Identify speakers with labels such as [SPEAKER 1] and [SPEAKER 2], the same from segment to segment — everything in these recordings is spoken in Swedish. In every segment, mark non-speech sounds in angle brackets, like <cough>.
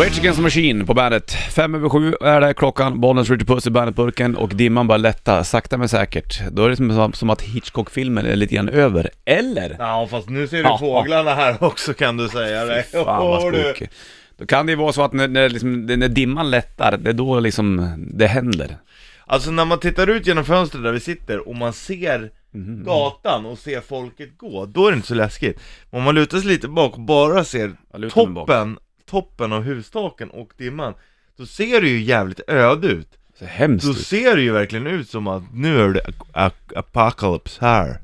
[SPEAKER 1] Rage Against the Machine på bandet. Fem över sju är det klockan, Bollnäs Richard Puss i bandetburken och dimman bara lätta, sakta men säkert. Då är det som, som att Hitchcock-filmen är lite grann över. Eller?
[SPEAKER 2] Ja fast nu ser du
[SPEAKER 1] Ja.
[SPEAKER 2] fåglarna här också kan du säga det.
[SPEAKER 1] Fan vad
[SPEAKER 2] Åh, du.
[SPEAKER 1] spooky. Då kan det ju vara så att när, när, liksom, när dimman lättar, det är då liksom det händer.
[SPEAKER 2] Alltså när man tittar ut genom fönstret där vi sitter och man ser
[SPEAKER 1] Mhm.
[SPEAKER 2] gatan och ser folket gå, då är det inte så läskigt. Men om man lutar sig lite bak och bara ser
[SPEAKER 1] Jag lutar mig bak.
[SPEAKER 2] toppen, toppen av hustaken och dimman, då ser det ju jävligt öde ut.
[SPEAKER 1] Så hemskt
[SPEAKER 2] Då
[SPEAKER 1] ut.
[SPEAKER 2] ser det ju verkligen ut som att nu är det a- a- apocalypse här.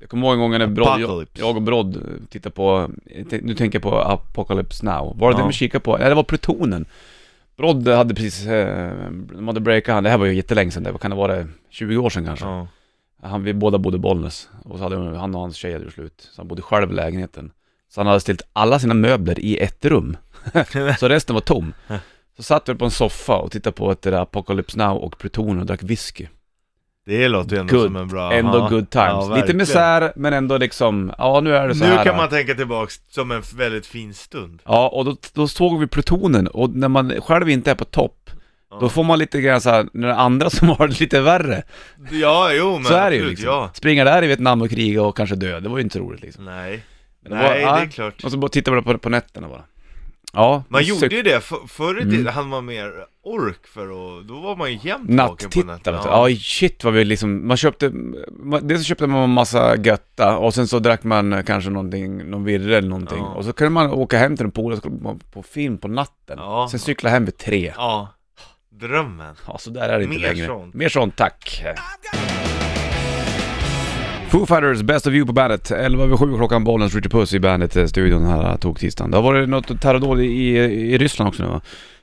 [SPEAKER 1] Jag kommer ihåg en gång när Brodd, jag,
[SPEAKER 2] Apocalypse.
[SPEAKER 1] jag och Brodd eh, tittade på, eh, t- nu tänker jag på Apocalypse Now. Var det
[SPEAKER 2] Ja.
[SPEAKER 1] den vi kikade på? Nej, det var Plutonen. Brodd hade precis, eh, de hade breakat han, det här var ju jättelänge sedan, det var- kan det vara 20 år sedan kanske?
[SPEAKER 2] Ja.
[SPEAKER 1] Han, vi båda bodde i Bollnäs, och så hade hon- han och hans tjej hade gjort slut, så han bodde själv i lägenheten. Så han hade ställt alla sina möbler i ett rum, så resten var tom. Så satt vi på en soffa och tittade på ett det där Apocalypse Now och Plutonen och drack whisky.
[SPEAKER 2] <laughs> Det låter ju ändå
[SPEAKER 1] Good.
[SPEAKER 2] som en bra...
[SPEAKER 1] Ändå
[SPEAKER 2] ja.
[SPEAKER 1] good
[SPEAKER 2] Ja,
[SPEAKER 1] times. Lite
[SPEAKER 2] verkligen.
[SPEAKER 1] misär, men ändå liksom, ja nu är det så
[SPEAKER 2] Nu
[SPEAKER 1] här.
[SPEAKER 2] kan man tänka tillbaks som en väldigt fin stund.
[SPEAKER 1] Ja, och då, då såg vi plutonen och när man själv inte är på topp, då får man lite grann såhär, när det är andra som har det lite värre,
[SPEAKER 2] Ja, jo men
[SPEAKER 1] så är det ju
[SPEAKER 2] absolut,
[SPEAKER 1] liksom.
[SPEAKER 2] ja.
[SPEAKER 1] Springa där i Vietnam och kriga och kanske dö, det var ju inte roligt liksom.
[SPEAKER 2] Nej.
[SPEAKER 1] Men det
[SPEAKER 2] Nej,
[SPEAKER 1] var-
[SPEAKER 2] det
[SPEAKER 1] ja.
[SPEAKER 2] är klart.
[SPEAKER 1] Och så bara tittar man på, på nätterna bara. Ja,
[SPEAKER 2] Man
[SPEAKER 1] det
[SPEAKER 2] gjorde
[SPEAKER 1] sök-
[SPEAKER 2] ju det, för, förr i
[SPEAKER 1] Mm.
[SPEAKER 2] tiden hade man mer ork för att, då var man ju jämt vaken på
[SPEAKER 1] Nattittare.
[SPEAKER 2] nätterna.
[SPEAKER 1] Ja. ja, shit vad vi liksom, man köpte, man, dels så köpte man massa götta och sen så drack man eh, kanske någonting, någon virre eller någonting.
[SPEAKER 2] Ja.
[SPEAKER 1] Och så kunde man åka hem till en polare och så kolla på- på film på natten.
[SPEAKER 2] Ja.
[SPEAKER 1] Sen cykla hem vid tre.
[SPEAKER 2] ja. Drömmen.
[SPEAKER 1] Ja, så där är det inte
[SPEAKER 2] Mer
[SPEAKER 1] längre.
[SPEAKER 2] sånt.
[SPEAKER 1] Mer sånt, tack. Foo Fighters, Best of You på bandet. 11 över 7 klockan, Bollens Richard Puss i bandet-studion här eh, tog tisdagen. Det har varit något terrordåd i, i Ryssland också nu va?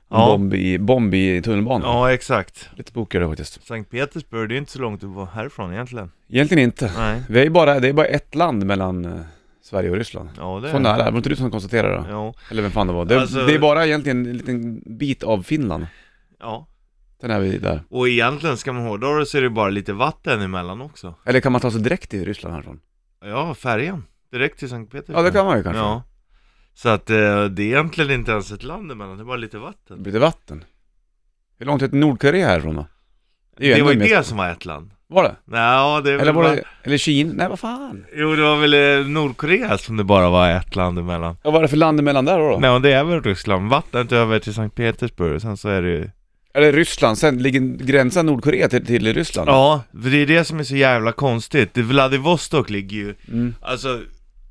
[SPEAKER 2] Ja.
[SPEAKER 1] Bomb, i, bomb i tunnelbanan.
[SPEAKER 2] Ja, exakt.
[SPEAKER 1] Lite spokigare faktiskt.
[SPEAKER 2] Sankt Petersburg, det är inte så långt att vara härifrån egentligen.
[SPEAKER 1] Egentligen inte.
[SPEAKER 2] Nej.
[SPEAKER 1] Vi är ju bara, det är bara ett land mellan eh, Sverige och Ryssland.
[SPEAKER 2] Ja, det är
[SPEAKER 1] Så nära, var det inte du som konstaterade det?
[SPEAKER 2] Ja.
[SPEAKER 1] Eller vem fan det var? Det,
[SPEAKER 2] Alltså-
[SPEAKER 1] det är bara egentligen en liten bit av Finland.
[SPEAKER 2] ja.
[SPEAKER 1] Sen är vi där.
[SPEAKER 2] Och egentligen, ska man hårdra det så är det bara lite vatten emellan också.
[SPEAKER 1] Eller kan man ta sig direkt till Ryssland härifrån?
[SPEAKER 2] Ja, färjan. Direkt till Sankt Petersburg.
[SPEAKER 1] Ja det kan man ju kanske.
[SPEAKER 2] Ja. Så att eh, det är egentligen inte ens ett land emellan, det är bara lite vatten.
[SPEAKER 1] Lite vatten. Hur långt är det till Nordkorea härifrån då? är ju
[SPEAKER 2] Det
[SPEAKER 1] ännu
[SPEAKER 2] var ju
[SPEAKER 1] mer-
[SPEAKER 2] det som var ett land.
[SPEAKER 1] Var det?
[SPEAKER 2] Nej, det är
[SPEAKER 1] Eller
[SPEAKER 2] väl
[SPEAKER 1] var
[SPEAKER 2] bara...
[SPEAKER 1] det, eller Kina? Nej vad fan?
[SPEAKER 2] Jo, det var väl eh, Nordkorea som det bara var ett land emellan.
[SPEAKER 1] Ja, vad är det för land emellan där då?
[SPEAKER 2] Nej, och det är väl Ryssland. Vattnet över till Sankt Petersburg, och sen så är det ju...
[SPEAKER 1] Är det Ryssland? Sen ligger gränsen Nordkorea till, till Ryssland?
[SPEAKER 2] Ja, för det är det som är så jävla konstigt. Det- Vladivostok ligger ju...
[SPEAKER 1] Mm.
[SPEAKER 2] Alltså,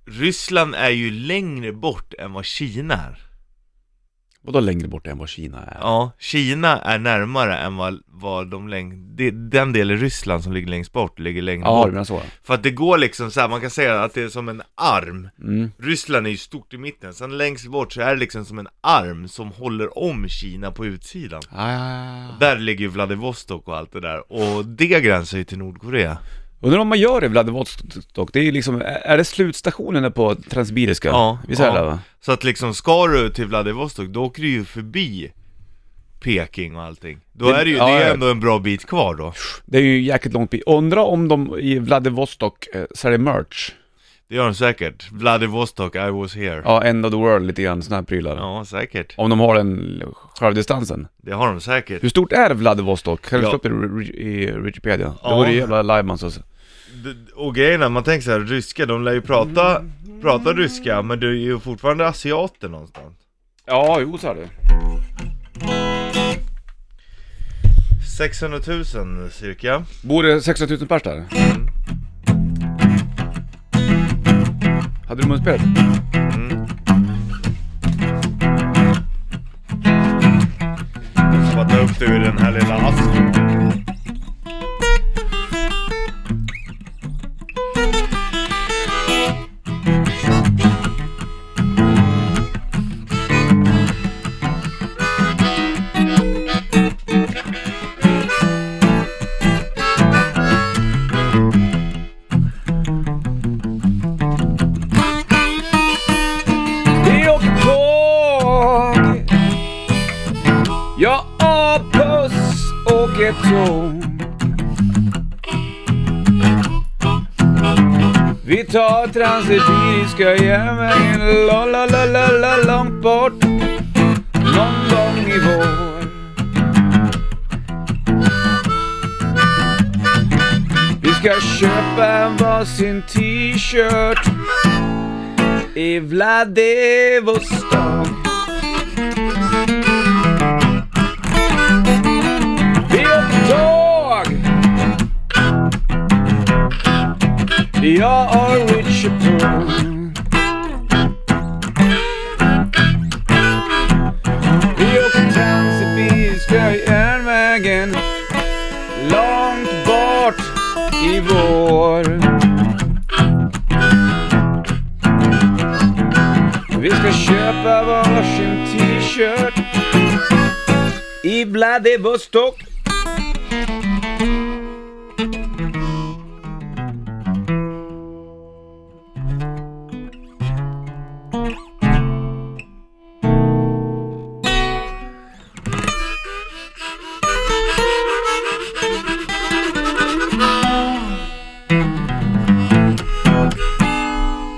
[SPEAKER 2] Ryssland är ju längre bort än vad Kina är.
[SPEAKER 1] Vadå längre bort än vad Kina är?
[SPEAKER 2] Ja, Kina är närmare än vad, vad de läng... det- Den del i Ryssland som ligger längst bort ligger längre
[SPEAKER 1] Ja, du
[SPEAKER 2] bort.
[SPEAKER 1] menar så?
[SPEAKER 2] För att det går liksom så här, man kan säga att det är som en arm.
[SPEAKER 1] Mm.
[SPEAKER 2] Ryssland är ju stort i mitten, sen längst bort så är det liksom som en arm som håller om Kina på utsidan.
[SPEAKER 1] Ah, ja, ja.
[SPEAKER 2] Där ligger ju Vladivostok och allt det där, och det gränsar ju till Nordkorea.
[SPEAKER 1] Undrar om man gör det i Vladivostok? Det är ju liksom, är det slutstationen där på Transsibiriska?
[SPEAKER 2] Ja,
[SPEAKER 1] Visst är det
[SPEAKER 2] ja.
[SPEAKER 1] det va?
[SPEAKER 2] Så att liksom, ska du till Vladivostok, då åker du ju förbi Peking och allting. Då
[SPEAKER 1] Det-
[SPEAKER 2] är det ju,
[SPEAKER 1] ja,
[SPEAKER 2] det är
[SPEAKER 1] ja.
[SPEAKER 2] ju ändå en bra bit kvar då.
[SPEAKER 1] Det är ju jäkligt långt bit. Undrar om de i Vladivostok eh, säljer merch?
[SPEAKER 2] Det gör de säkert. Vladivostok, I was here. Ja,
[SPEAKER 1] Ja, end of the world lite grann, sådana här prylar.
[SPEAKER 2] säkert.
[SPEAKER 1] Om de har den självdistansen.
[SPEAKER 2] Det har de säkert.
[SPEAKER 1] Hur stort är Vladivostok? Kan du
[SPEAKER 2] Ja.
[SPEAKER 1] slå upp det i Ri- i Wikipedia? Det
[SPEAKER 2] Ja.
[SPEAKER 1] vore ju jävla lajban så.
[SPEAKER 2] D- Och grejen är, man tänker så här, ryska, de lär ju prata, prata ryska, men du är ju fortfarande asiater någonstans.
[SPEAKER 1] Ja, jo så är det.
[SPEAKER 2] 600 000 cirka.
[SPEAKER 1] Bor det 16 000 pers där? Hade du munspelet?
[SPEAKER 2] Jag ska bara ta upp det ur den här lilla asken.
[SPEAKER 1] Vi åker tåg Jag och buss åker tåg Vi tar Transsibiriska järnvägen la la la la la långt bort La ska köpa en varsin t-shirt i Vladivostok. Vi åker tåg! Jag och Richard Brown. Vi åker Transsibiriska järnvägen långt bort i vår. Vi ska köpa varsin t-shirt i Vladivostok.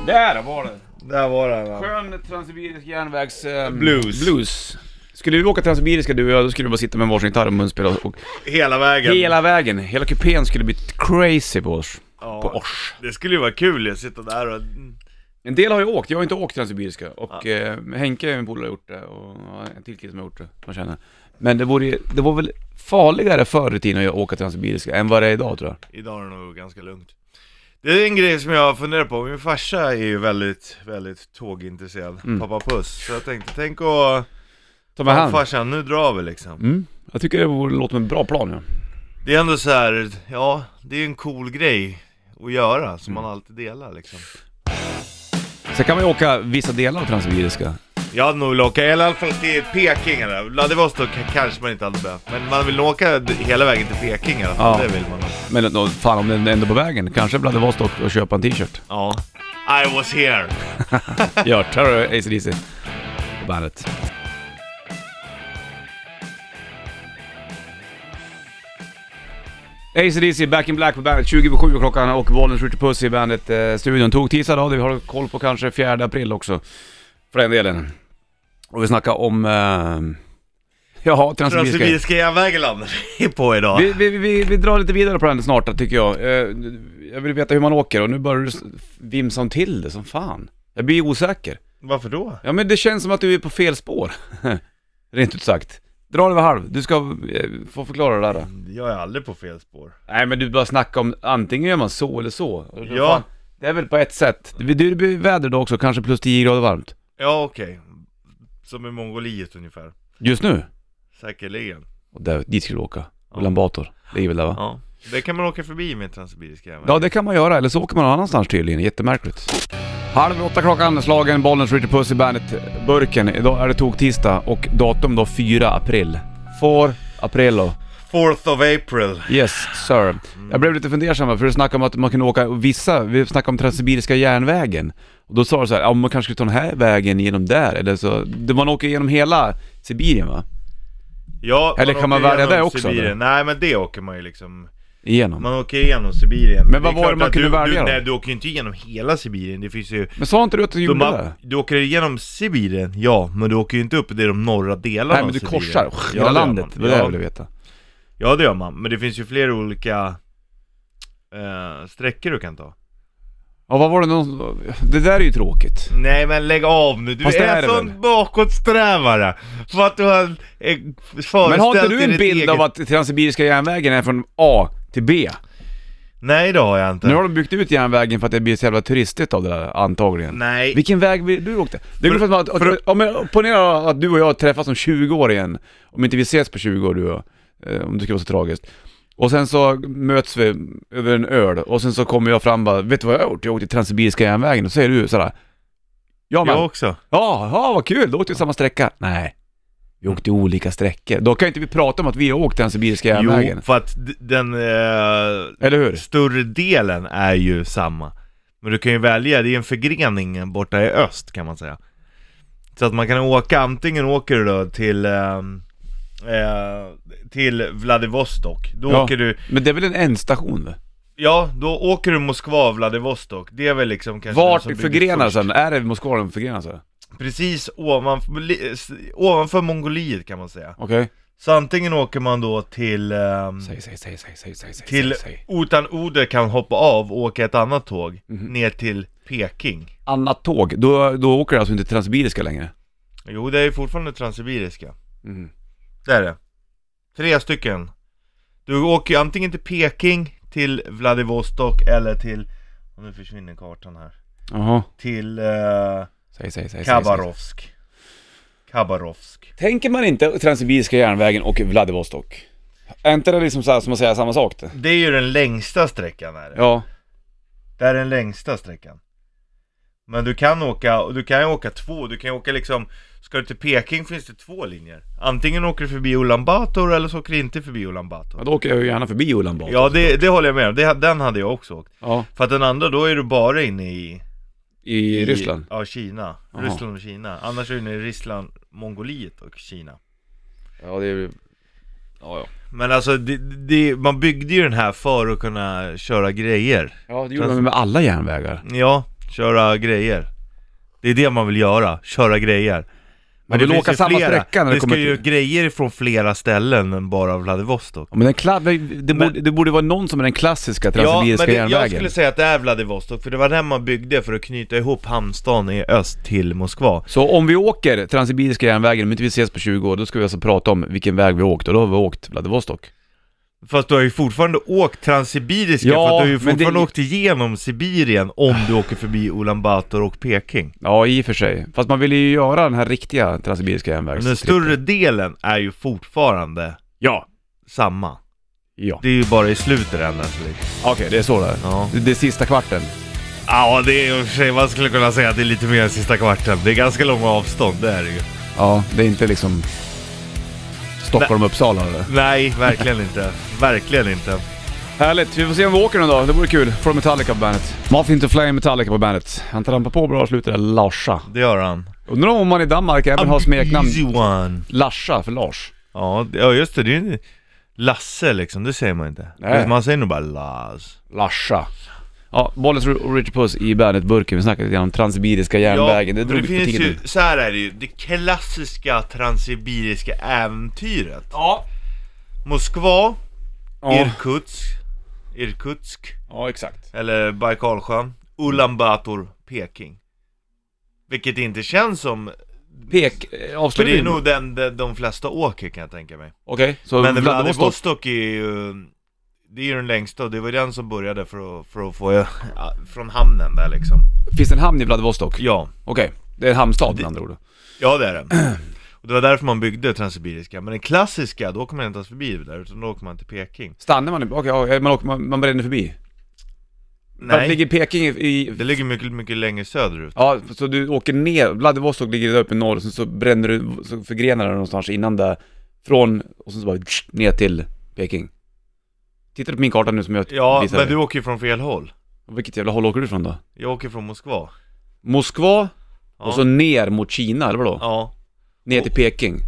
[SPEAKER 1] Där var det.
[SPEAKER 2] Där var den va?
[SPEAKER 1] Skön transsibirisk järnvägs... ehm,
[SPEAKER 2] Blues.
[SPEAKER 1] blues. Skulle vi åka transsibiriska du och jag, då skulle vi bara sitta med varsin gitarr och munspel och, och
[SPEAKER 2] Hela vägen.
[SPEAKER 1] hela vägen, hela kupén skulle bli crazy på oss.
[SPEAKER 2] Ja.
[SPEAKER 1] På oss.
[SPEAKER 2] Det skulle ju vara kul att sitta där och...
[SPEAKER 1] En del har ju åkt, jag har inte åkt transsibiriska och eh, Henke, min polare, har gjort det och ja, en till kille som har gjort det, som jag känner. Men det, vore, ju- det var väl farligare förr i tiden att åka transsibiriska än vad det är idag tror jag.
[SPEAKER 2] Idag är det nog ganska lugnt. Det är en grej som jag funderar på. Min farsa är ju väldigt, väldigt tågintresserad.
[SPEAKER 1] Mm.
[SPEAKER 2] Pappa Puss. Så jag tänkte, tänk att...
[SPEAKER 1] Ta med
[SPEAKER 2] Fan
[SPEAKER 1] hand.
[SPEAKER 2] farsan, nu drar vi liksom.
[SPEAKER 1] Mm. Jag tycker det vore, låter som en bra plan ja.
[SPEAKER 2] Det är ändå så här, ja, det är en cool grej att göra som man alltid delar liksom.
[SPEAKER 1] Sen kan man ju åka vissa delar av transsibiriska.
[SPEAKER 2] Jag hade nog velat åka i alla fall till Peking eller Vladivostok k- kanske man inte hade behövt. Men man vill åka d- hela vägen till Peking i alla fall,
[SPEAKER 1] Ja.
[SPEAKER 2] det vill man.
[SPEAKER 1] Men då, fan om den är ändå på vägen, kanske Vladivostok och köpa en t-shirt.
[SPEAKER 2] Ja. I was here!
[SPEAKER 1] Gört, här har du ACDC på bandet. ACDC, Back in Black på bandet, 20 på 7 klockan och Bollnäs skjuter puss i bandet eh, studion. Tog tisdag då, det vi har koll på kanske 4 april också. För den delen. Och vi snackar om... Eh, jaha, transsibiriska.
[SPEAKER 2] Transsibiriska järnvägen landar vi <laughs> på idag.
[SPEAKER 1] Vi, vi, vi, vi drar lite vidare på den snart tycker jag. Eh, Jag vill veta hur man åker och nu börjar du s- vimsa om till det som fan. Jag blir osäker.
[SPEAKER 2] Varför då?
[SPEAKER 1] Ja men det känns som att du är på fel spår. <laughs> Rent ut sagt. Dra över halv, du ska eh, få förklara det där. då.
[SPEAKER 2] Jag är aldrig på fel spår.
[SPEAKER 1] Nej men du bara snacka om, antingen gör man så eller så. Och då
[SPEAKER 2] Ja.
[SPEAKER 1] det är väl på ett sätt. Det det blir väder då också, kanske plus 10 grader varmt.
[SPEAKER 2] Ja, okej. Som i Mongoliet ungefär.
[SPEAKER 1] Just nu.
[SPEAKER 2] Säkerligen.
[SPEAKER 1] Och där, dit ska du åka.
[SPEAKER 2] Ja.
[SPEAKER 1] Ulan Bator. Det är väl där va?
[SPEAKER 2] Ja. Det kan man åka förbi med Transsibiriska järnvägen.
[SPEAKER 1] Ja det kan man göra, eller så åker man någon annanstans tydligen, jättemärkligt. Halv åtta klockan, slagen, bollen, Richard Puss i bandet, burken. Idag är det tog-tisdag och datum då 4 april. 4 april då.
[SPEAKER 2] Fourth of April.
[SPEAKER 1] Yes sir. Jag blev lite fundersam för du snackade om att man kunde åka vissa, vi snackade om Transsibiriska järnvägen. Och då sa du så här, ja man kanske skulle ta den här vägen genom där eller så. Det- Man åker genom hela Sibirien va?
[SPEAKER 2] Ja,
[SPEAKER 1] Eller kan man
[SPEAKER 2] åker
[SPEAKER 1] välja det
[SPEAKER 2] igenom
[SPEAKER 1] också,
[SPEAKER 2] Sibirien.
[SPEAKER 1] eller?
[SPEAKER 2] Nej men det åker man ju liksom
[SPEAKER 1] Igenom.
[SPEAKER 2] Man åker igenom Sibirien
[SPEAKER 1] Men vad
[SPEAKER 2] Det
[SPEAKER 1] var
[SPEAKER 2] är
[SPEAKER 1] det
[SPEAKER 2] klart
[SPEAKER 1] man
[SPEAKER 2] att
[SPEAKER 1] kunde
[SPEAKER 2] du,
[SPEAKER 1] välja
[SPEAKER 2] du,
[SPEAKER 1] då?
[SPEAKER 2] Nej du åker ju inte igenom hela Sibirien, det finns ju
[SPEAKER 1] Men sa inte du att du
[SPEAKER 2] de,
[SPEAKER 1] gjorde det?
[SPEAKER 2] Du åker igenom Sibirien, ja, men du åker ju inte upp i de norra delarna
[SPEAKER 1] Nej men du
[SPEAKER 2] av
[SPEAKER 1] korsar
[SPEAKER 2] Sibirien. Ja,
[SPEAKER 1] hela
[SPEAKER 2] det gör
[SPEAKER 1] landet,
[SPEAKER 2] man.
[SPEAKER 1] det var det jag
[SPEAKER 2] ja,
[SPEAKER 1] ville veta.
[SPEAKER 2] ja det gör man, men det finns ju flera olika eh, sträckor du kan ta
[SPEAKER 1] Ja vad var det någon... Det där är ju tråkigt.
[SPEAKER 2] Nej men lägg av nu, du
[SPEAKER 1] Fast det är
[SPEAKER 2] är en
[SPEAKER 1] det
[SPEAKER 2] sån
[SPEAKER 1] väl?
[SPEAKER 2] bakåtsträvare! För att du har eh,
[SPEAKER 1] Men har inte
[SPEAKER 2] föreställt
[SPEAKER 1] du
[SPEAKER 2] dig
[SPEAKER 1] en
[SPEAKER 2] ditt
[SPEAKER 1] bild
[SPEAKER 2] eget...
[SPEAKER 1] av att Transsibiriska järnvägen är från A till B?
[SPEAKER 2] Nej det har jag inte
[SPEAKER 1] Nu har de byggt ut järnvägen för att det blir så jävla turistigt av det där, antagligen.
[SPEAKER 2] Nej,
[SPEAKER 1] Vilken väg vill du åkte? Det är ungefär som att,
[SPEAKER 2] för-
[SPEAKER 1] att, om jag ponera att du och jag träffas om 20 år igen, om inte vi ses på 20 år du och jag, eh, om det skulle vara så tragiskt. Och sen så möts vi över en öl och sen så kommer jag fram och bara, vet du vad jag har gjort? Jag åkte Transsibiriska järnvägen och så säger du sådär, ja men,
[SPEAKER 2] jag också
[SPEAKER 1] Jaha, vad kul, då åkte vi samma sträcka. Nej, vi åkte olika sträckor. Då kan inte vi prata om att vi har åkt den Sibiriska järnvägen.
[SPEAKER 2] Mm. Jo, för att d- den eh,
[SPEAKER 1] Eller hur?
[SPEAKER 2] större delen är ju samma. Men du kan ju välja, det är en förgrening borta i öst kan man säga. Så att man kan åka, antingen åker du då till, eh, eh, till Vladivostok. Då
[SPEAKER 1] Ja.
[SPEAKER 2] åker du,
[SPEAKER 1] Men det är väl en ändstation? va?
[SPEAKER 2] ja då åker du Moskva, Vladivostok. Det är väl liksom kanske den
[SPEAKER 1] Vart
[SPEAKER 2] som byggs
[SPEAKER 1] förgrenar
[SPEAKER 2] först.
[SPEAKER 1] den? Är det Moskva den förgrenar sig?
[SPEAKER 2] Precis ovanför, ovanför Mongoliet kan man säga.
[SPEAKER 1] Okej.
[SPEAKER 2] Så antingen åker man då till... ehm,
[SPEAKER 1] Säg, säg, säg, säg, säg, säg, säg,
[SPEAKER 2] till
[SPEAKER 1] säg, säg.
[SPEAKER 2] utan Ode kan hoppa av och åka ett annat tåg
[SPEAKER 1] Mhm.
[SPEAKER 2] ner till Peking.
[SPEAKER 1] Annat tåg, då, då åker du alltså inte Transsibiriska längre?
[SPEAKER 2] Jo, det är ju fortfarande Transsibiriska.
[SPEAKER 1] Mm.
[SPEAKER 2] Det är det. Tre stycken. Du åker ju antingen till Peking, till Vladivostok eller till... och Nu försvinner kartan här.
[SPEAKER 1] Jaha,
[SPEAKER 2] Till eh,
[SPEAKER 1] säg, säg, säg, säg, säg.
[SPEAKER 2] Khabarovsk. Khabarovsk.
[SPEAKER 1] Tänker man inte Transsibiriska järnvägen och Vladivostok? Är inte det liksom så här, som att säga samma sak? Det?
[SPEAKER 2] Det är ju den längsta sträckan här.
[SPEAKER 1] Ja,
[SPEAKER 2] Det här är den längsta sträckan. Men du kan åka, och du kan ju åka två, du kan ju åka liksom Ska du till Peking finns det två linjer Antingen åker du förbi Ulan Bator eller så åker du inte förbi Ulan
[SPEAKER 1] ja,
[SPEAKER 2] Bator
[SPEAKER 1] då åker jag ju gärna förbi Ulan Bator.
[SPEAKER 2] Ja det, det håller jag med om, det, den hade jag också åkt
[SPEAKER 1] ja.
[SPEAKER 2] För att den andra då är du bara inne i
[SPEAKER 1] I Ryssland?
[SPEAKER 2] Ja, Kina
[SPEAKER 1] Jaha.
[SPEAKER 2] Ryssland och Kina Annars är du inne i Ryssland, Mongoliet och Kina
[SPEAKER 1] Ja, det är ju... Ja, ja.
[SPEAKER 2] Men alltså, det, det, man byggde ju den här för att kunna köra grejer
[SPEAKER 1] Ja, det gjorde man med alla järnvägar.
[SPEAKER 2] Ja, köra grejer Det är det man vill göra, köra grejer
[SPEAKER 1] Man
[SPEAKER 2] det
[SPEAKER 1] vill
[SPEAKER 2] finns
[SPEAKER 1] åka
[SPEAKER 2] ju
[SPEAKER 1] samma
[SPEAKER 2] flera.
[SPEAKER 1] sträcka när det
[SPEAKER 2] det
[SPEAKER 1] kommer
[SPEAKER 2] ska ju
[SPEAKER 1] till...
[SPEAKER 2] grejer från flera ställen än bara Vladivostok.
[SPEAKER 1] Ja, men den kla... det, borde, det borde vara någon som är den klassiska Transsibiriska
[SPEAKER 2] det, jag
[SPEAKER 1] järnvägen.
[SPEAKER 2] skulle säga att det är Vladivostok, för det var den man byggde för att knyta ihop hamnstan i öst till Moskva.
[SPEAKER 1] Så om vi åker Transsibiriska järnvägen, om inte vi ses på 20 år, då ska vi alltså prata om vilken väg vi åkt och då har vi åkt Vladivostok.
[SPEAKER 2] Fast du har ju fortfarande åkt Transsibiriska,
[SPEAKER 1] Ja,
[SPEAKER 2] för att du har ju
[SPEAKER 1] men det- Ah.
[SPEAKER 2] fortfarande åkt igenom Sibirien om du åker förbi Ulan Bator och Peking.
[SPEAKER 1] Ja, i och för sig. Fast man ville ju göra den här riktiga Transsibiriska järnvägen.
[SPEAKER 2] Men den större delen är ju fortfarande
[SPEAKER 1] Ja,
[SPEAKER 2] samma.
[SPEAKER 1] ja.
[SPEAKER 2] Det är ju bara i slutet än så lite.
[SPEAKER 1] Okej, det är så det är.
[SPEAKER 2] Ja.
[SPEAKER 1] Det, det är sista kvarten.
[SPEAKER 2] Ja, det är i och för sig, man skulle kunna säga att det är lite mer än sista kvarten. Det är ganska långa avstånd, det är det ju.
[SPEAKER 1] Ja, det är inte liksom Stockholm-Uppsala eller?
[SPEAKER 2] Nej, verkligen inte. Verkligen inte.
[SPEAKER 1] Härligt, vi får se om vi åker någon dag. Det vore kul. Från Metallica på bandet. Martin to Flame Metallica på bandet. Han trampar på bra och slutar där Larsa.
[SPEAKER 2] Det gör han.
[SPEAKER 1] Undrar om man i Danmark även har smeknamn
[SPEAKER 2] Easy one.
[SPEAKER 1] Larsa för Lars.
[SPEAKER 2] Ja, det- ja, just det. Det är ju Lasse liksom, det säger man inte.
[SPEAKER 1] Nej.
[SPEAKER 2] Man säger nog bara Lars.
[SPEAKER 1] Larsa. Ja, Bollens och Richard Puss i bandet-burken. Vi snackade lite grann om Transsibiriska järnvägen. det drog
[SPEAKER 2] det
[SPEAKER 1] ut på
[SPEAKER 2] finns
[SPEAKER 1] tiden.
[SPEAKER 2] ju, så här är det ju, det klassiska transsibiriska äventyret.
[SPEAKER 1] Ja.
[SPEAKER 2] Moskva,
[SPEAKER 1] Ja.
[SPEAKER 2] Irkutsk, Irkutsk,
[SPEAKER 1] ja, exakt.
[SPEAKER 2] eller Baikalsjön, Ulan Bator, Peking. Vilket inte känns som,
[SPEAKER 1] Pek... eh,
[SPEAKER 2] för det är
[SPEAKER 1] Avslutning.
[SPEAKER 2] nog den de, de flesta åker kan jag tänka mig.
[SPEAKER 1] Okej, så
[SPEAKER 2] Men
[SPEAKER 1] Vladivostok.
[SPEAKER 2] Vladivostok är ju, det är ju den längsta och det var den som började för att, för att få, ja, från hamnen där liksom.
[SPEAKER 1] Finns det en hamn i Vladivostok?
[SPEAKER 2] Ja,
[SPEAKER 1] Okej, det är en hamnstad med
[SPEAKER 2] Det-
[SPEAKER 1] andra ord.
[SPEAKER 2] ja det är det. Och det var därför man byggde Transsibiriska, men den klassiska, då åker man inte ens förbi där utan då åker man till Peking.
[SPEAKER 1] Stannar man i... Okej, ja, man, åker- man, man bränner förbi. Vart
[SPEAKER 2] Nej,
[SPEAKER 1] ligger Peking i... i
[SPEAKER 2] det ligger mycket, mycket längre söderut.
[SPEAKER 1] Ja, så du åker ner, Vladivostok ligger där uppe i norr och sen så bränner du, så förgrenar du någonstans innan där, från, och sen så bara tsch, ner till Peking. Tittar du på min karta nu som jag
[SPEAKER 2] Ja,
[SPEAKER 1] visar
[SPEAKER 2] men du
[SPEAKER 1] dig?
[SPEAKER 2] åker ju från fel håll.
[SPEAKER 1] Vilket jävla håll åker du ifrån då?
[SPEAKER 2] Jag åker från Moskva.
[SPEAKER 1] Moskva,
[SPEAKER 2] Ja.
[SPEAKER 1] och så ner mot Kina, eller vadå?
[SPEAKER 2] Ja,
[SPEAKER 1] Ner till Peking.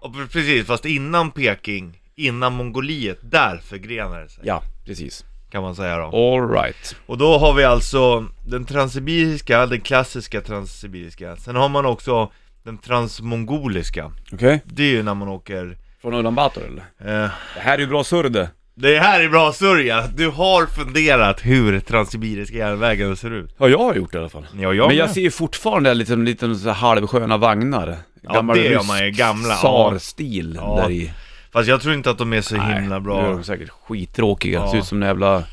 [SPEAKER 2] och pre- precis, fast innan Peking, innan Mongoliet, där förgrenar det sig.
[SPEAKER 1] Ja, precis.
[SPEAKER 2] Kan man säga då.
[SPEAKER 1] All right.
[SPEAKER 2] Och då har vi alltså den transsibiriska, den klassiska transsibiriska. Sen har man också den transmongoliska.
[SPEAKER 1] Okej.
[SPEAKER 2] Det är ju när man åker...
[SPEAKER 1] Från Ulan Bator eller?
[SPEAKER 2] Eh,
[SPEAKER 1] Det här är ju bra surr det.
[SPEAKER 2] det här är bra sörja! Du har funderat hur transsibiriska järnvägen ser ut.
[SPEAKER 1] Ja, jag har gjort det i alla fall.
[SPEAKER 2] Ja, jag
[SPEAKER 1] Men jag
[SPEAKER 2] med.
[SPEAKER 1] ser ju fortfarande lite, lite så här halvsköna vagnar.
[SPEAKER 2] Ja, det gör man ju, gamla, ja.
[SPEAKER 1] Tsar-stil
[SPEAKER 2] Ja.
[SPEAKER 1] där i.
[SPEAKER 2] Fast jag tror inte att de är så
[SPEAKER 1] Nej,
[SPEAKER 2] himla
[SPEAKER 1] Nu är
[SPEAKER 2] bra.
[SPEAKER 1] de säkert skittråkiga,
[SPEAKER 2] Ja.
[SPEAKER 1] ser ut som en jävla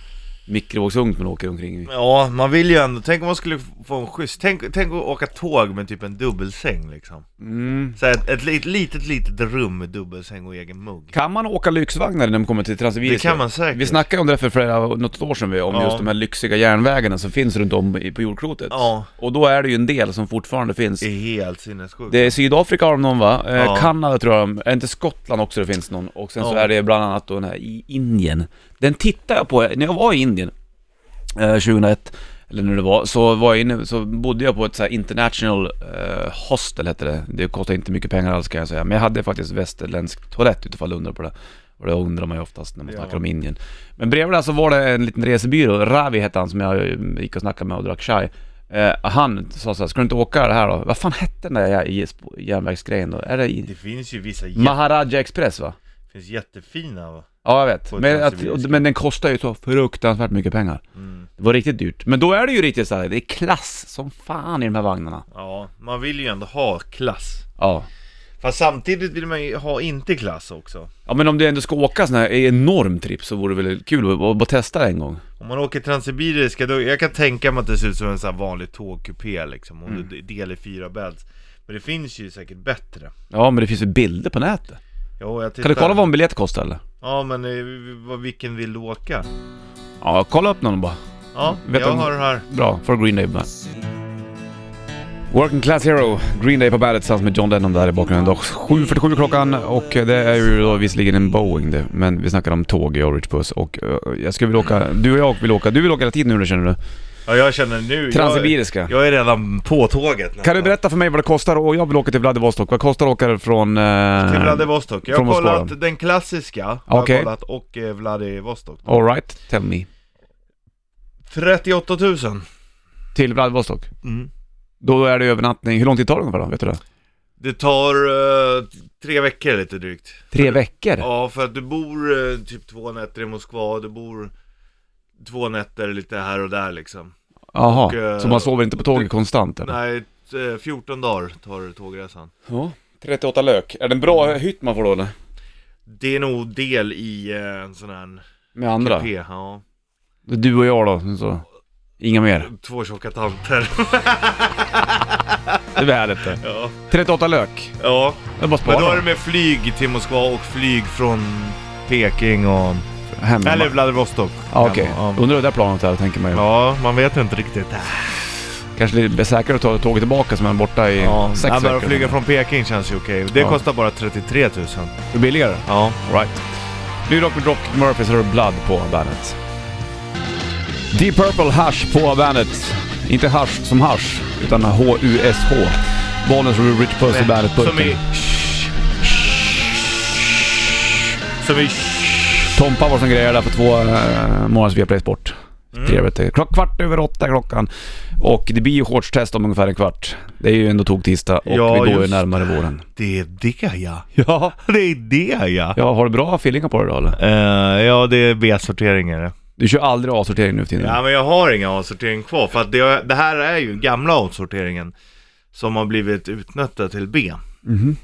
[SPEAKER 1] mikrovågsugn man åker omkring i.
[SPEAKER 2] Ja, man vill ju ändå, tänk om man skulle få en skjuts, tänk, tänk att åka tåg med typ en dubbelsäng liksom
[SPEAKER 1] Mm.
[SPEAKER 2] Så här, ett, ett litet, litet, litet rum med dubbelsäng och egen mugg
[SPEAKER 1] Kan man åka lyxvagnar när man kommer till
[SPEAKER 2] Det
[SPEAKER 1] Transsibiriska?
[SPEAKER 2] kan man säkert
[SPEAKER 1] Vi snackade om det för flera, något år sedan, vi, om
[SPEAKER 2] Ja.
[SPEAKER 1] just de här lyxiga järnvägarna som finns runt om i- på jordklotet.
[SPEAKER 2] Ja,
[SPEAKER 1] Och då är det ju en del som fortfarande finns.
[SPEAKER 2] det är helt sinnessjukt
[SPEAKER 1] Det är Sydafrika har de någon va? Eh,
[SPEAKER 2] Ja.
[SPEAKER 1] Kanada tror jag de, är inte Skottland också det finns någon? Och sen så
[SPEAKER 2] Ja.
[SPEAKER 1] är det bland annat då den här i Indien. Den tittade jag på, när jag var i Indien eh, 2001, eller när det var, så var jag inne, så bodde jag på ett så här international eh, hostel hette det. Det kostar inte mycket pengar alls kan jag säga, men jag hade faktiskt västerländsk toalett utifall du undrar på det. Och det undrar man ju oftast när man
[SPEAKER 2] Ja.
[SPEAKER 1] snackar om Indien. Men bredvid där så var det en liten resebyrå, Ravi hette han som jag eh, gick och snackade med och drack chai. Eh, han sa så här, ska du inte åka det här då? Vad fan hette den där jä- jä- järnvägsgrejen då? Är det i...
[SPEAKER 2] Det finns ju vissa jä-
[SPEAKER 1] Maharaja Express va?
[SPEAKER 2] finns jättefina va?
[SPEAKER 1] Ja, jag vet.
[SPEAKER 2] På ett
[SPEAKER 1] Men, att,
[SPEAKER 2] transsibiriska.
[SPEAKER 1] men den kostar ju så fruktansvärt mycket pengar.
[SPEAKER 2] Mm.
[SPEAKER 1] Det var riktigt dyrt. Men då är det ju riktigt så här, det är klass som fan i de här vagnarna.
[SPEAKER 2] Ja, man vill ju ändå ha klass.
[SPEAKER 1] Ja.
[SPEAKER 2] Fast samtidigt vill man ju ha inte klass också.
[SPEAKER 1] Ja men om du ändå ska åka sån här enorm tripp så vore det väl kul att bara bara testa det en gång.
[SPEAKER 2] Om man åker Transsibiriska, då, jag kan tänka mig att det ser ut som en sån här vanlig tågkupé liksom,
[SPEAKER 1] Mm.
[SPEAKER 2] om du delar i fyra bädds. Men det finns ju säkert bättre.
[SPEAKER 1] Ja men det finns ju bilder på nätet.
[SPEAKER 2] Jo, jag tittar.
[SPEAKER 1] Kan du kolla vad en biljett kostar eller?
[SPEAKER 2] Ja, men eh, vad- vilken vill du åka?
[SPEAKER 1] Ja, kolla upp någon bara.
[SPEAKER 2] Ja,
[SPEAKER 1] Vet
[SPEAKER 2] jag
[SPEAKER 1] om-
[SPEAKER 2] har den här.
[SPEAKER 1] Bra, för Green Day på bandet. Working Class Hero, Green Day på bandet tillsammans med John Lennon där i bakgrunden. Dock 7.47 klockan och det är ju då visserligen en Boeing det, men vi snackar om tåg i Orange Puss och eh, jag skulle vilja åka, du och jag vill åka, du vill åka hela tiden nu eller känner du?
[SPEAKER 2] Ja, jag känner nu.
[SPEAKER 1] Transsibiriska.
[SPEAKER 2] Jag, jag är redan på tåget nästan.
[SPEAKER 1] Kan du berätta för mig vad det kostar och jag vill åka till Vladivostok, vad kostar det att åka från...
[SPEAKER 2] Till
[SPEAKER 1] Eh,
[SPEAKER 2] Vladivostok. Jag
[SPEAKER 1] Från
[SPEAKER 2] har
[SPEAKER 1] Moskva
[SPEAKER 2] kollat den klassiska, har jag
[SPEAKER 1] Okej.
[SPEAKER 2] kollat, och eh, Vladivostok.
[SPEAKER 1] Alright, tell me.
[SPEAKER 2] 38 000.
[SPEAKER 1] Till Vladivostok?
[SPEAKER 2] Mm.
[SPEAKER 1] Då är det övernattning, hur lång tid tar det ungefär då? Vet du det?
[SPEAKER 2] Det tar eh, tre veckor lite drygt.
[SPEAKER 1] Tre veckor?
[SPEAKER 2] Ja, för att du bor eh, typ två nätter i Moskva, du bor två nätter lite här och där liksom.
[SPEAKER 1] Jaha,
[SPEAKER 2] Och, eh,
[SPEAKER 1] så man sover inte på tåget konstant eller?
[SPEAKER 2] Nej, t- eh, 14 dagar tar tågresan.
[SPEAKER 1] Ja. Mm. 38 lök, är det en bra hytt man får då eller?
[SPEAKER 2] Det är nog del i eh, en sån här
[SPEAKER 1] Med andra?
[SPEAKER 2] kupé, ja.
[SPEAKER 1] Det är Du och jag då, så. Inga mer.
[SPEAKER 2] Två
[SPEAKER 1] <laughs>
[SPEAKER 2] tjocka tanter.
[SPEAKER 1] Det blir härligt det.
[SPEAKER 2] ja.
[SPEAKER 1] 38 lök.
[SPEAKER 2] ja,
[SPEAKER 1] Det är bara att
[SPEAKER 2] men då är
[SPEAKER 1] spara.
[SPEAKER 2] det med flyg till Moskva och flyg från Peking och...
[SPEAKER 1] Hem.
[SPEAKER 2] Eller Vladivostok.
[SPEAKER 1] Ja, okej.
[SPEAKER 2] Ja.
[SPEAKER 1] Undrar hur det där planet är tänker man ju.
[SPEAKER 2] Ja, man vet ju inte riktigt.
[SPEAKER 1] Kanske det är säkrare att ta tåget tillbaka som är borta i
[SPEAKER 2] Ja,
[SPEAKER 1] sex
[SPEAKER 2] men att
[SPEAKER 1] veckor.
[SPEAKER 2] flyga från Peking känns ju okej. Det
[SPEAKER 1] Ja.
[SPEAKER 2] kostar bara 33 000.
[SPEAKER 1] Det är billigare.
[SPEAKER 2] Ja.
[SPEAKER 1] Right. New Rock med Rock Murphys har du Blood på bandet. Deep Purple Hush på bandet. Inte hash som hash, utan H-U-S-H. Bonus Rich Puss i bandet
[SPEAKER 2] Som i...
[SPEAKER 1] burken.
[SPEAKER 2] Som i...
[SPEAKER 1] Tompa var som grejade där för två eh, månader Viaplay Sport.
[SPEAKER 2] Mm.
[SPEAKER 1] Trevligt. det är. Klock, kvart över åtta är klockan. Och det blir ju shortstest om ungefär en kvart. Det är ju ändå tog tisdag och
[SPEAKER 2] Ja,
[SPEAKER 1] vi går ju
[SPEAKER 2] just
[SPEAKER 1] närmare våren.
[SPEAKER 2] Det är det ja.
[SPEAKER 1] Ja.
[SPEAKER 2] Det är det ja.
[SPEAKER 1] ja, har du bra feelingar på det då eller?
[SPEAKER 2] Eh, ja, det är B-sortering är det.
[SPEAKER 1] Du kör aldrig avsortering nu för tiden?
[SPEAKER 2] Ja, men jag har inga avsortering kvar för att det, det här är ju gamla avsorteringen som har blivit utnötta till B.
[SPEAKER 1] Mhm.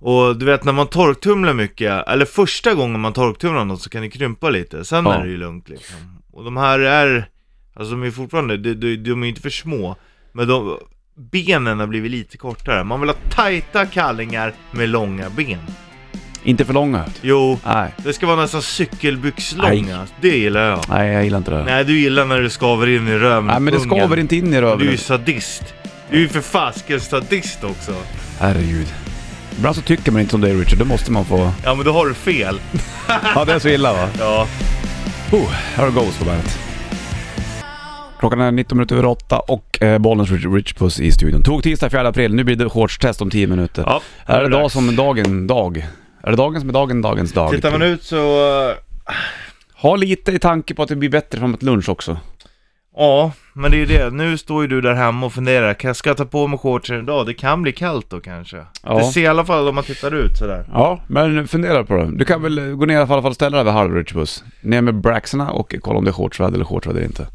[SPEAKER 2] Och du vet när man torktumlar mycket, eller första gången man torktumlar något så kan det krympa lite, sen
[SPEAKER 1] Ja.
[SPEAKER 2] är det ju lugnt liksom. Och de här är, alltså de är fortfarande, de, de, de är inte för små, men de, benen har blivit lite kortare. Man vill ha tajta kallingar med långa ben.
[SPEAKER 1] Inte för långa?
[SPEAKER 2] Jo,
[SPEAKER 1] Nej.
[SPEAKER 2] det ska vara nästan cykelbyxlånga, det gillar jag.
[SPEAKER 1] Nej, jag gillar inte det. Nej,
[SPEAKER 2] Nej, du gillar när du skaver in i röven
[SPEAKER 1] men det skaver inte in i
[SPEAKER 2] Du är
[SPEAKER 1] röven.
[SPEAKER 2] ju sadist. Du är ju för fasken sadist också.
[SPEAKER 1] Herregud. Ibland så tycker man inte som dig Richard, då måste man
[SPEAKER 2] <laughs>
[SPEAKER 1] få...
[SPEAKER 2] Ja, men då har du fel.
[SPEAKER 1] Ja, det är så illa va?
[SPEAKER 2] Ja.
[SPEAKER 1] Oh, här har Ghost på bandet. Klockan är 19 minuter över 8 och eh, Bollnäs Rich, Rich Puss i studion. Tog tisdag 4 april, nu blir det shortstest om 10 minuter.
[SPEAKER 2] ja
[SPEAKER 1] är det dag
[SPEAKER 2] dags.
[SPEAKER 1] som dagen dag? Är det dagen som är dagen dagens dag? liksom.
[SPEAKER 2] Tittar man ut så... eh,
[SPEAKER 1] Ha lite i tanke på att det blir bättre framåt lunch också.
[SPEAKER 2] Ja, men det är ju det. Nu står ju du där hemma och funderar. Kan jag ska ta på mig shortsen idag? Det kan bli kallt då kanske.
[SPEAKER 1] Ja.
[SPEAKER 2] Det ser i alla fall om man tittar ut sådär.
[SPEAKER 1] Ja, men fundera på det. Du kan väl eh, gå ner i alla fall och ställa dig vid halv Rich Puss. Ner med braxarna och kolla om det är shortsväder eller shortsväder inte.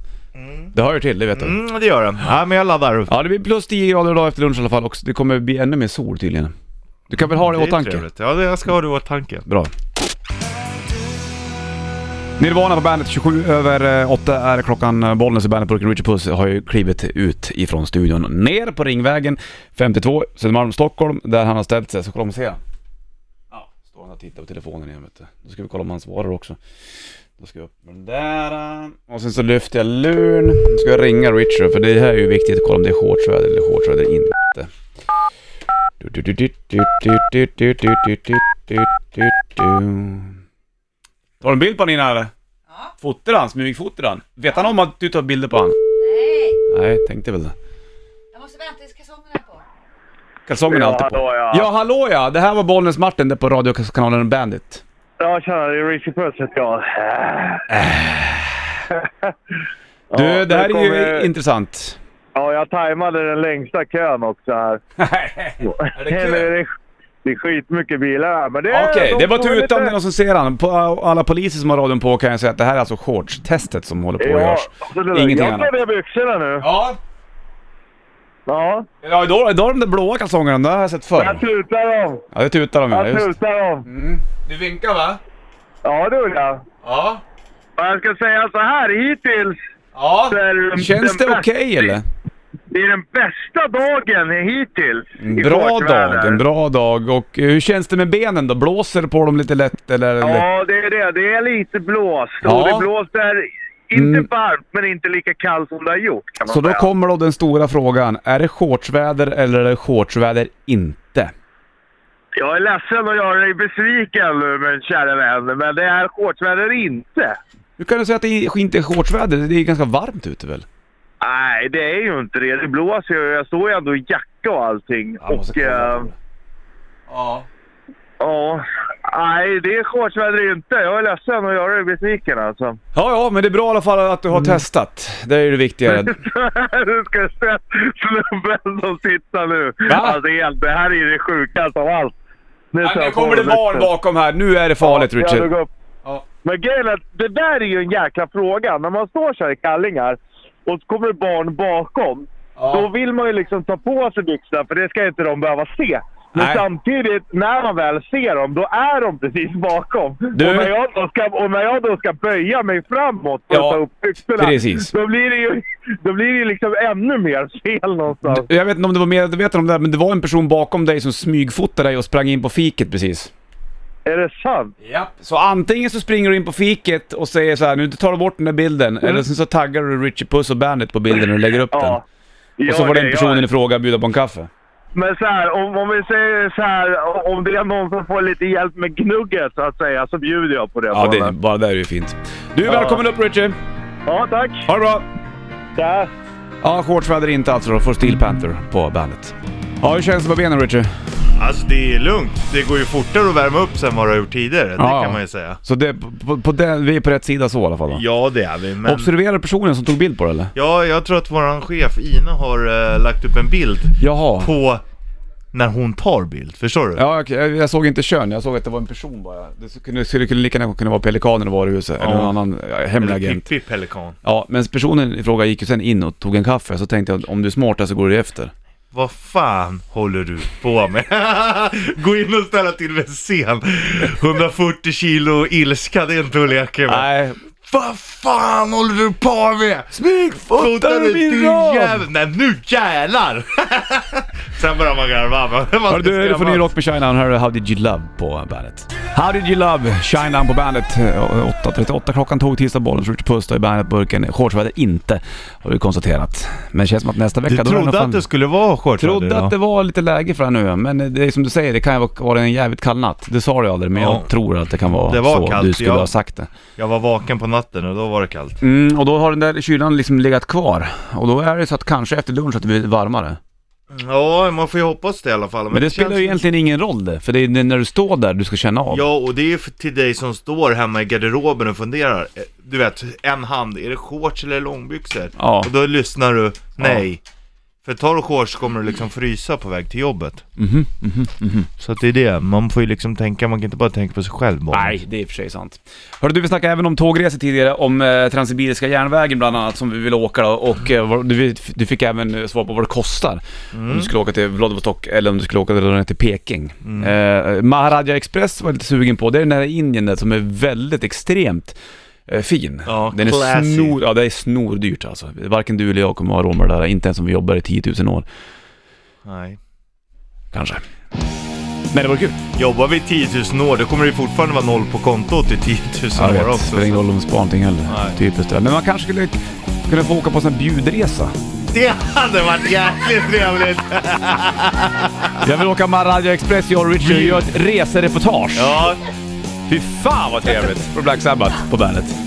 [SPEAKER 1] Det hör ju till, det vet du.
[SPEAKER 2] Mm, det gör den. Ja, men jag laddar.
[SPEAKER 1] Ja, det blir plus 10 grader idag efter lunch i alla fall också. Det kommer bli ännu mer sol tydligen. Du kan väl ha det, i
[SPEAKER 2] är
[SPEAKER 1] åtanke?
[SPEAKER 2] trevligt. Ja, det jag ska ha det i åtanke.
[SPEAKER 1] Bra. Nirvana på bandet, 27 över eh, 8 är klockan. Eh, Bollnäs i bandetburken, Richard Puss har ju klivit ut ifrån studion ner på Ringvägen 52 Södermalm, Stockholm, där han har ställt sig. Så kolla om vi ser. Ja, står han och tittar på telefonen igen vet du. Då ska vi kolla om han svarar också. Då ska jag upp med den där. eh. Och sen så lyfter jag luren. Nu ska jag ringa Richard för det här är ju viktigt att kolla om det är shortsväder eller shortsväder inte. Du, du, du, du, du, du, du, du, du, du, du, du, du, du. Tar du en bild på honom innan eller? Ja. Fotar han? Smygfotar han? Vet han om att du tar bilder på honom?
[SPEAKER 3] Nej,
[SPEAKER 1] Nej, tänkte väl det.
[SPEAKER 3] jag måste vänta tills kalsongerna är på.
[SPEAKER 1] Kalsongerna är alltid på.
[SPEAKER 4] hallå, ja.
[SPEAKER 1] ja, hallå ja! Det här var Bollnäs Martin där på radiokanalen Bandit.
[SPEAKER 4] Ja, tjena, det är Richie Puss heter jag.
[SPEAKER 1] Du, det här
[SPEAKER 4] nu
[SPEAKER 1] är ju
[SPEAKER 4] kommer- <laughs>
[SPEAKER 1] intressant.
[SPEAKER 4] Ja, jag tajmade den längsta kön också här.
[SPEAKER 1] är det
[SPEAKER 4] Eller,
[SPEAKER 1] kul?
[SPEAKER 4] det, är- det är skitmycket bilar här, men det är...
[SPEAKER 1] Okej,
[SPEAKER 4] de
[SPEAKER 1] det var
[SPEAKER 4] får
[SPEAKER 1] tur
[SPEAKER 4] lite-
[SPEAKER 1] utan det är någon som ser han. På alla poliser som har radion på kan jag säga att det här är alltså shortstestet som håller på och
[SPEAKER 4] Ja,
[SPEAKER 1] görs.
[SPEAKER 4] så det där.
[SPEAKER 1] Ingenting
[SPEAKER 4] jag
[SPEAKER 1] annat.
[SPEAKER 4] tar ner byxorna nu.
[SPEAKER 1] Ja,
[SPEAKER 4] Ja,
[SPEAKER 1] ja då, då har de där blåa kalsongerna, det har jag sett förr.
[SPEAKER 4] jag tutar dem.
[SPEAKER 1] Ja, det tutar de ja,
[SPEAKER 4] Jag
[SPEAKER 1] just. Mm.
[SPEAKER 4] tutar dem.
[SPEAKER 1] Du vinkar va?
[SPEAKER 4] Ja, det gjorde jag.
[SPEAKER 1] Ja.
[SPEAKER 4] Och jag ska säga så här, hittills
[SPEAKER 1] Ja.
[SPEAKER 4] så är det den-
[SPEAKER 1] Känns det
[SPEAKER 4] den
[SPEAKER 1] okej
[SPEAKER 4] bästa-
[SPEAKER 1] eller?
[SPEAKER 4] Det är den bästa dagen hittills. i
[SPEAKER 1] Bra
[SPEAKER 4] fartväder.
[SPEAKER 1] dag, en bra dag. Och eh, hur känns det med benen då? Blåser det på dem lite lätt eller?
[SPEAKER 4] Ja, det är det. Det är lite blåst. Och
[SPEAKER 1] Ja. Mm.
[SPEAKER 4] det blåser inte varmt, men inte lika kallt som det har gjort kan man
[SPEAKER 1] Så då
[SPEAKER 4] säga.
[SPEAKER 1] kommer då den stora frågan. Är det shortsväder eller är det shortsväder inte?
[SPEAKER 4] Jag är ledsen att göra dig besviken nu, min kära vän, men det är shortsväder inte.
[SPEAKER 1] Hur kan du säga att det inte är shortsväder? Det är ju ganska varmt ute väl?
[SPEAKER 4] Nej, det är ju inte det. Det blåser ju. Jag står ju ändå i jacka och allting.
[SPEAKER 1] Jag måste
[SPEAKER 4] och...
[SPEAKER 1] kolla
[SPEAKER 4] eh,
[SPEAKER 1] på det. Ja.
[SPEAKER 4] Ja. Nej, det är shortsväder inte. Jag är ledsen att göra dig besviken alltså. <laughs>
[SPEAKER 1] Ja, ja, men det är bra i alla fall att du har testat. Det är ju det viktiga.
[SPEAKER 4] Mm. du ska se snubben som sitter nu.
[SPEAKER 1] Va?
[SPEAKER 4] Alltså, helt- det här är ju det sjukaste av allt. Nu
[SPEAKER 1] Nej,
[SPEAKER 4] tar
[SPEAKER 1] nu
[SPEAKER 4] jag på
[SPEAKER 1] kommer det
[SPEAKER 4] mig
[SPEAKER 1] barn
[SPEAKER 4] västen.
[SPEAKER 1] bakom här. Nu är det farligt
[SPEAKER 4] Ja, du
[SPEAKER 1] Richard.
[SPEAKER 4] går upp.
[SPEAKER 1] Ja.
[SPEAKER 4] Men grejen är att det där är ju en jäkla fråga. När man står så här i kallingar och så kommer det barn bakom. Då vill man ju liksom ta på sig byxorna för det ska inte de behöva se. Men
[SPEAKER 1] Nej.
[SPEAKER 4] samtidigt, när man väl ser dem, då är de precis bakom.
[SPEAKER 1] Du-
[SPEAKER 4] Och, när jag då ska, och när jag då ska böja mig framåt för
[SPEAKER 1] Ja,
[SPEAKER 4] att ta upp byxorna,
[SPEAKER 1] precis.
[SPEAKER 4] då blir det ju då blir det ju liksom ännu mer fel någonstans.
[SPEAKER 1] Jag vet inte om du var medveten om det här, men det var en person bakom dig som smygfotade dig och sprang in på fiket precis.
[SPEAKER 4] Är det sant?
[SPEAKER 1] Japp. Så antingen så springer du in på fiket och säger så här, nu tar du bort den där bilden, eller sen så taggar du Richie Puss och Bandit på bilden och lägger upp den. Och så
[SPEAKER 4] Gör
[SPEAKER 1] får
[SPEAKER 4] det,
[SPEAKER 1] den
[SPEAKER 4] gör
[SPEAKER 1] personen i fråga bjuda på en kaffe.
[SPEAKER 4] Men så här, om, om vi säger så här, om det är någon som får lite hjälp med gnugget så att säga, så bjuder jag på det.
[SPEAKER 1] Ja, det,
[SPEAKER 4] barnen.
[SPEAKER 1] bara där är ju fint. Du, välkommen upp Richie!
[SPEAKER 4] ja tack.
[SPEAKER 1] Ha det bra!
[SPEAKER 4] Där.
[SPEAKER 1] Ja, shortsväder inte alltså då, får Steel Panther på bandet. Ja, hur känns det på benen Richie?
[SPEAKER 2] Alltså det är lugnt. Det går ju fortare att värma upp sen vad du har gjort tidigare. Det kan man ju säga.
[SPEAKER 1] Så det, på, på den, vi är på rätt sida så i alla fall då.
[SPEAKER 2] Ja det är vi, men...
[SPEAKER 1] Observerar personen som tog bild på det eller?
[SPEAKER 2] Ja, jag tror att våran chef Ina har eh, lagt upp en bild
[SPEAKER 1] Jaha.
[SPEAKER 2] på när hon tar bild. Förstår du?
[SPEAKER 1] Ja, okej. jag, jag såg inte kön, jag såg att det var en person bara. Det skulle, kunde- skulle kunna lika gärna kunna vara pelikanen i varuhuset, eller någon annan ja, hemlig
[SPEAKER 2] Eller
[SPEAKER 1] agent.
[SPEAKER 2] Pippi Pelikan.
[SPEAKER 1] Ja, men personen i fråga gick ju sen in och tog en kaffe, så tänkte jag om du är smart där så går du efter.
[SPEAKER 2] Vad fan håller du på med? <laughs> Gå in och ställa till med en scen. 140 kilo ilska, det är inte att leka med.
[SPEAKER 1] Nej.
[SPEAKER 2] Vad fan håller du på med?
[SPEAKER 1] Smygfotar du min ram?
[SPEAKER 2] jävel? Nej nu jävlar! <laughs> Sen börjar man garva. men man
[SPEAKER 1] Hörru
[SPEAKER 2] ska
[SPEAKER 1] du, du får
[SPEAKER 2] skrämmas.
[SPEAKER 1] ny rock med Shine Down. Här är How Did You Love på bandet. How Did You Love, Shine Down på bandet. Eh, 8.38 klockan tog tisdag, bollen Richard Puss då i bandetburken. Shortsväder inte, har du konstaterat. Men det känns som att nästa vecka...
[SPEAKER 2] Du
[SPEAKER 1] då är det nog
[SPEAKER 2] trodde
[SPEAKER 1] fan-
[SPEAKER 2] att det skulle vara shortsväder
[SPEAKER 1] Trodde att det var lite läge för det här nu men det är som du säger, det kan ju vara- vara en jävligt kall natt. Det sa du aldrig, men
[SPEAKER 2] Ja.
[SPEAKER 1] jag tror att det kan vara
[SPEAKER 2] Det var
[SPEAKER 1] så
[SPEAKER 2] kallt,
[SPEAKER 1] du skulle
[SPEAKER 2] ja.
[SPEAKER 1] ha sagt det.
[SPEAKER 2] Jag var vaken på natten och då var det kallt.
[SPEAKER 1] Mm, och då har den där kylan liksom legat kvar. Och då är det så att kanske efter lunch att det blir varmare.
[SPEAKER 2] Ja, man får ju hoppas det i alla fall.
[SPEAKER 1] Men det, spelar ju egentligen ingen roll det, för det är när du står där du ska känna av.
[SPEAKER 2] Ja, och det är ju för- till dig som står hemma i garderoben och funderar. Eh, Du vet, en hand, är det shorts eller långbyxor?
[SPEAKER 1] Ja.
[SPEAKER 2] Och då lyssnar du, nej. För tar du shorts kommer du liksom frysa på väg till jobbet.
[SPEAKER 1] Mhm.
[SPEAKER 2] Så att det är det, man får ju liksom tänka, man kan inte bara tänka på sig själv bara.
[SPEAKER 1] Nej, det är i och för sig sant. Hörru du, vi snackade även om tågresor tidigare, om eh, Transsibiriska järnvägen bland annat som vi vill åka då, och eh, vad- du, du fick även eh, svar på vad det kostar.
[SPEAKER 2] Mm.
[SPEAKER 1] Om du skulle åka till Vladivostok eller om du skulle åka ner till Peking.
[SPEAKER 2] Mm.
[SPEAKER 1] Eh, Maharaja Express var jag lite sugen på, det är den här i Indien där som är väldigt extremt eh, fin.
[SPEAKER 2] Ja,
[SPEAKER 1] den är
[SPEAKER 2] classy.
[SPEAKER 1] snor, ja, det är snordyrt alltså. Varken du eller jag kommer ha råd med det där, inte ens om vi jobbar i 10 000 år.
[SPEAKER 2] nej.
[SPEAKER 1] Kanske. Men det vore kul.
[SPEAKER 2] Jobbar vi 10 000 år, då kommer det ju fortfarande vara noll på kontot i 10 000
[SPEAKER 1] Ja, jag
[SPEAKER 2] år
[SPEAKER 1] vet.
[SPEAKER 2] också.
[SPEAKER 1] Spelar ingen roll om de sparar någonting heller.
[SPEAKER 2] Nej.
[SPEAKER 1] Typiskt det där. Men man kanske skulle k- kunna få åka på en sån här bjudresa.
[SPEAKER 2] Det hade varit jäkligt trevligt!
[SPEAKER 1] Jag vill åka Maharaja Express, jag och Richard, och göra ett resereportage.
[SPEAKER 2] Ja.
[SPEAKER 1] Fy fan vad trevligt! På Black Sabbath på bandet.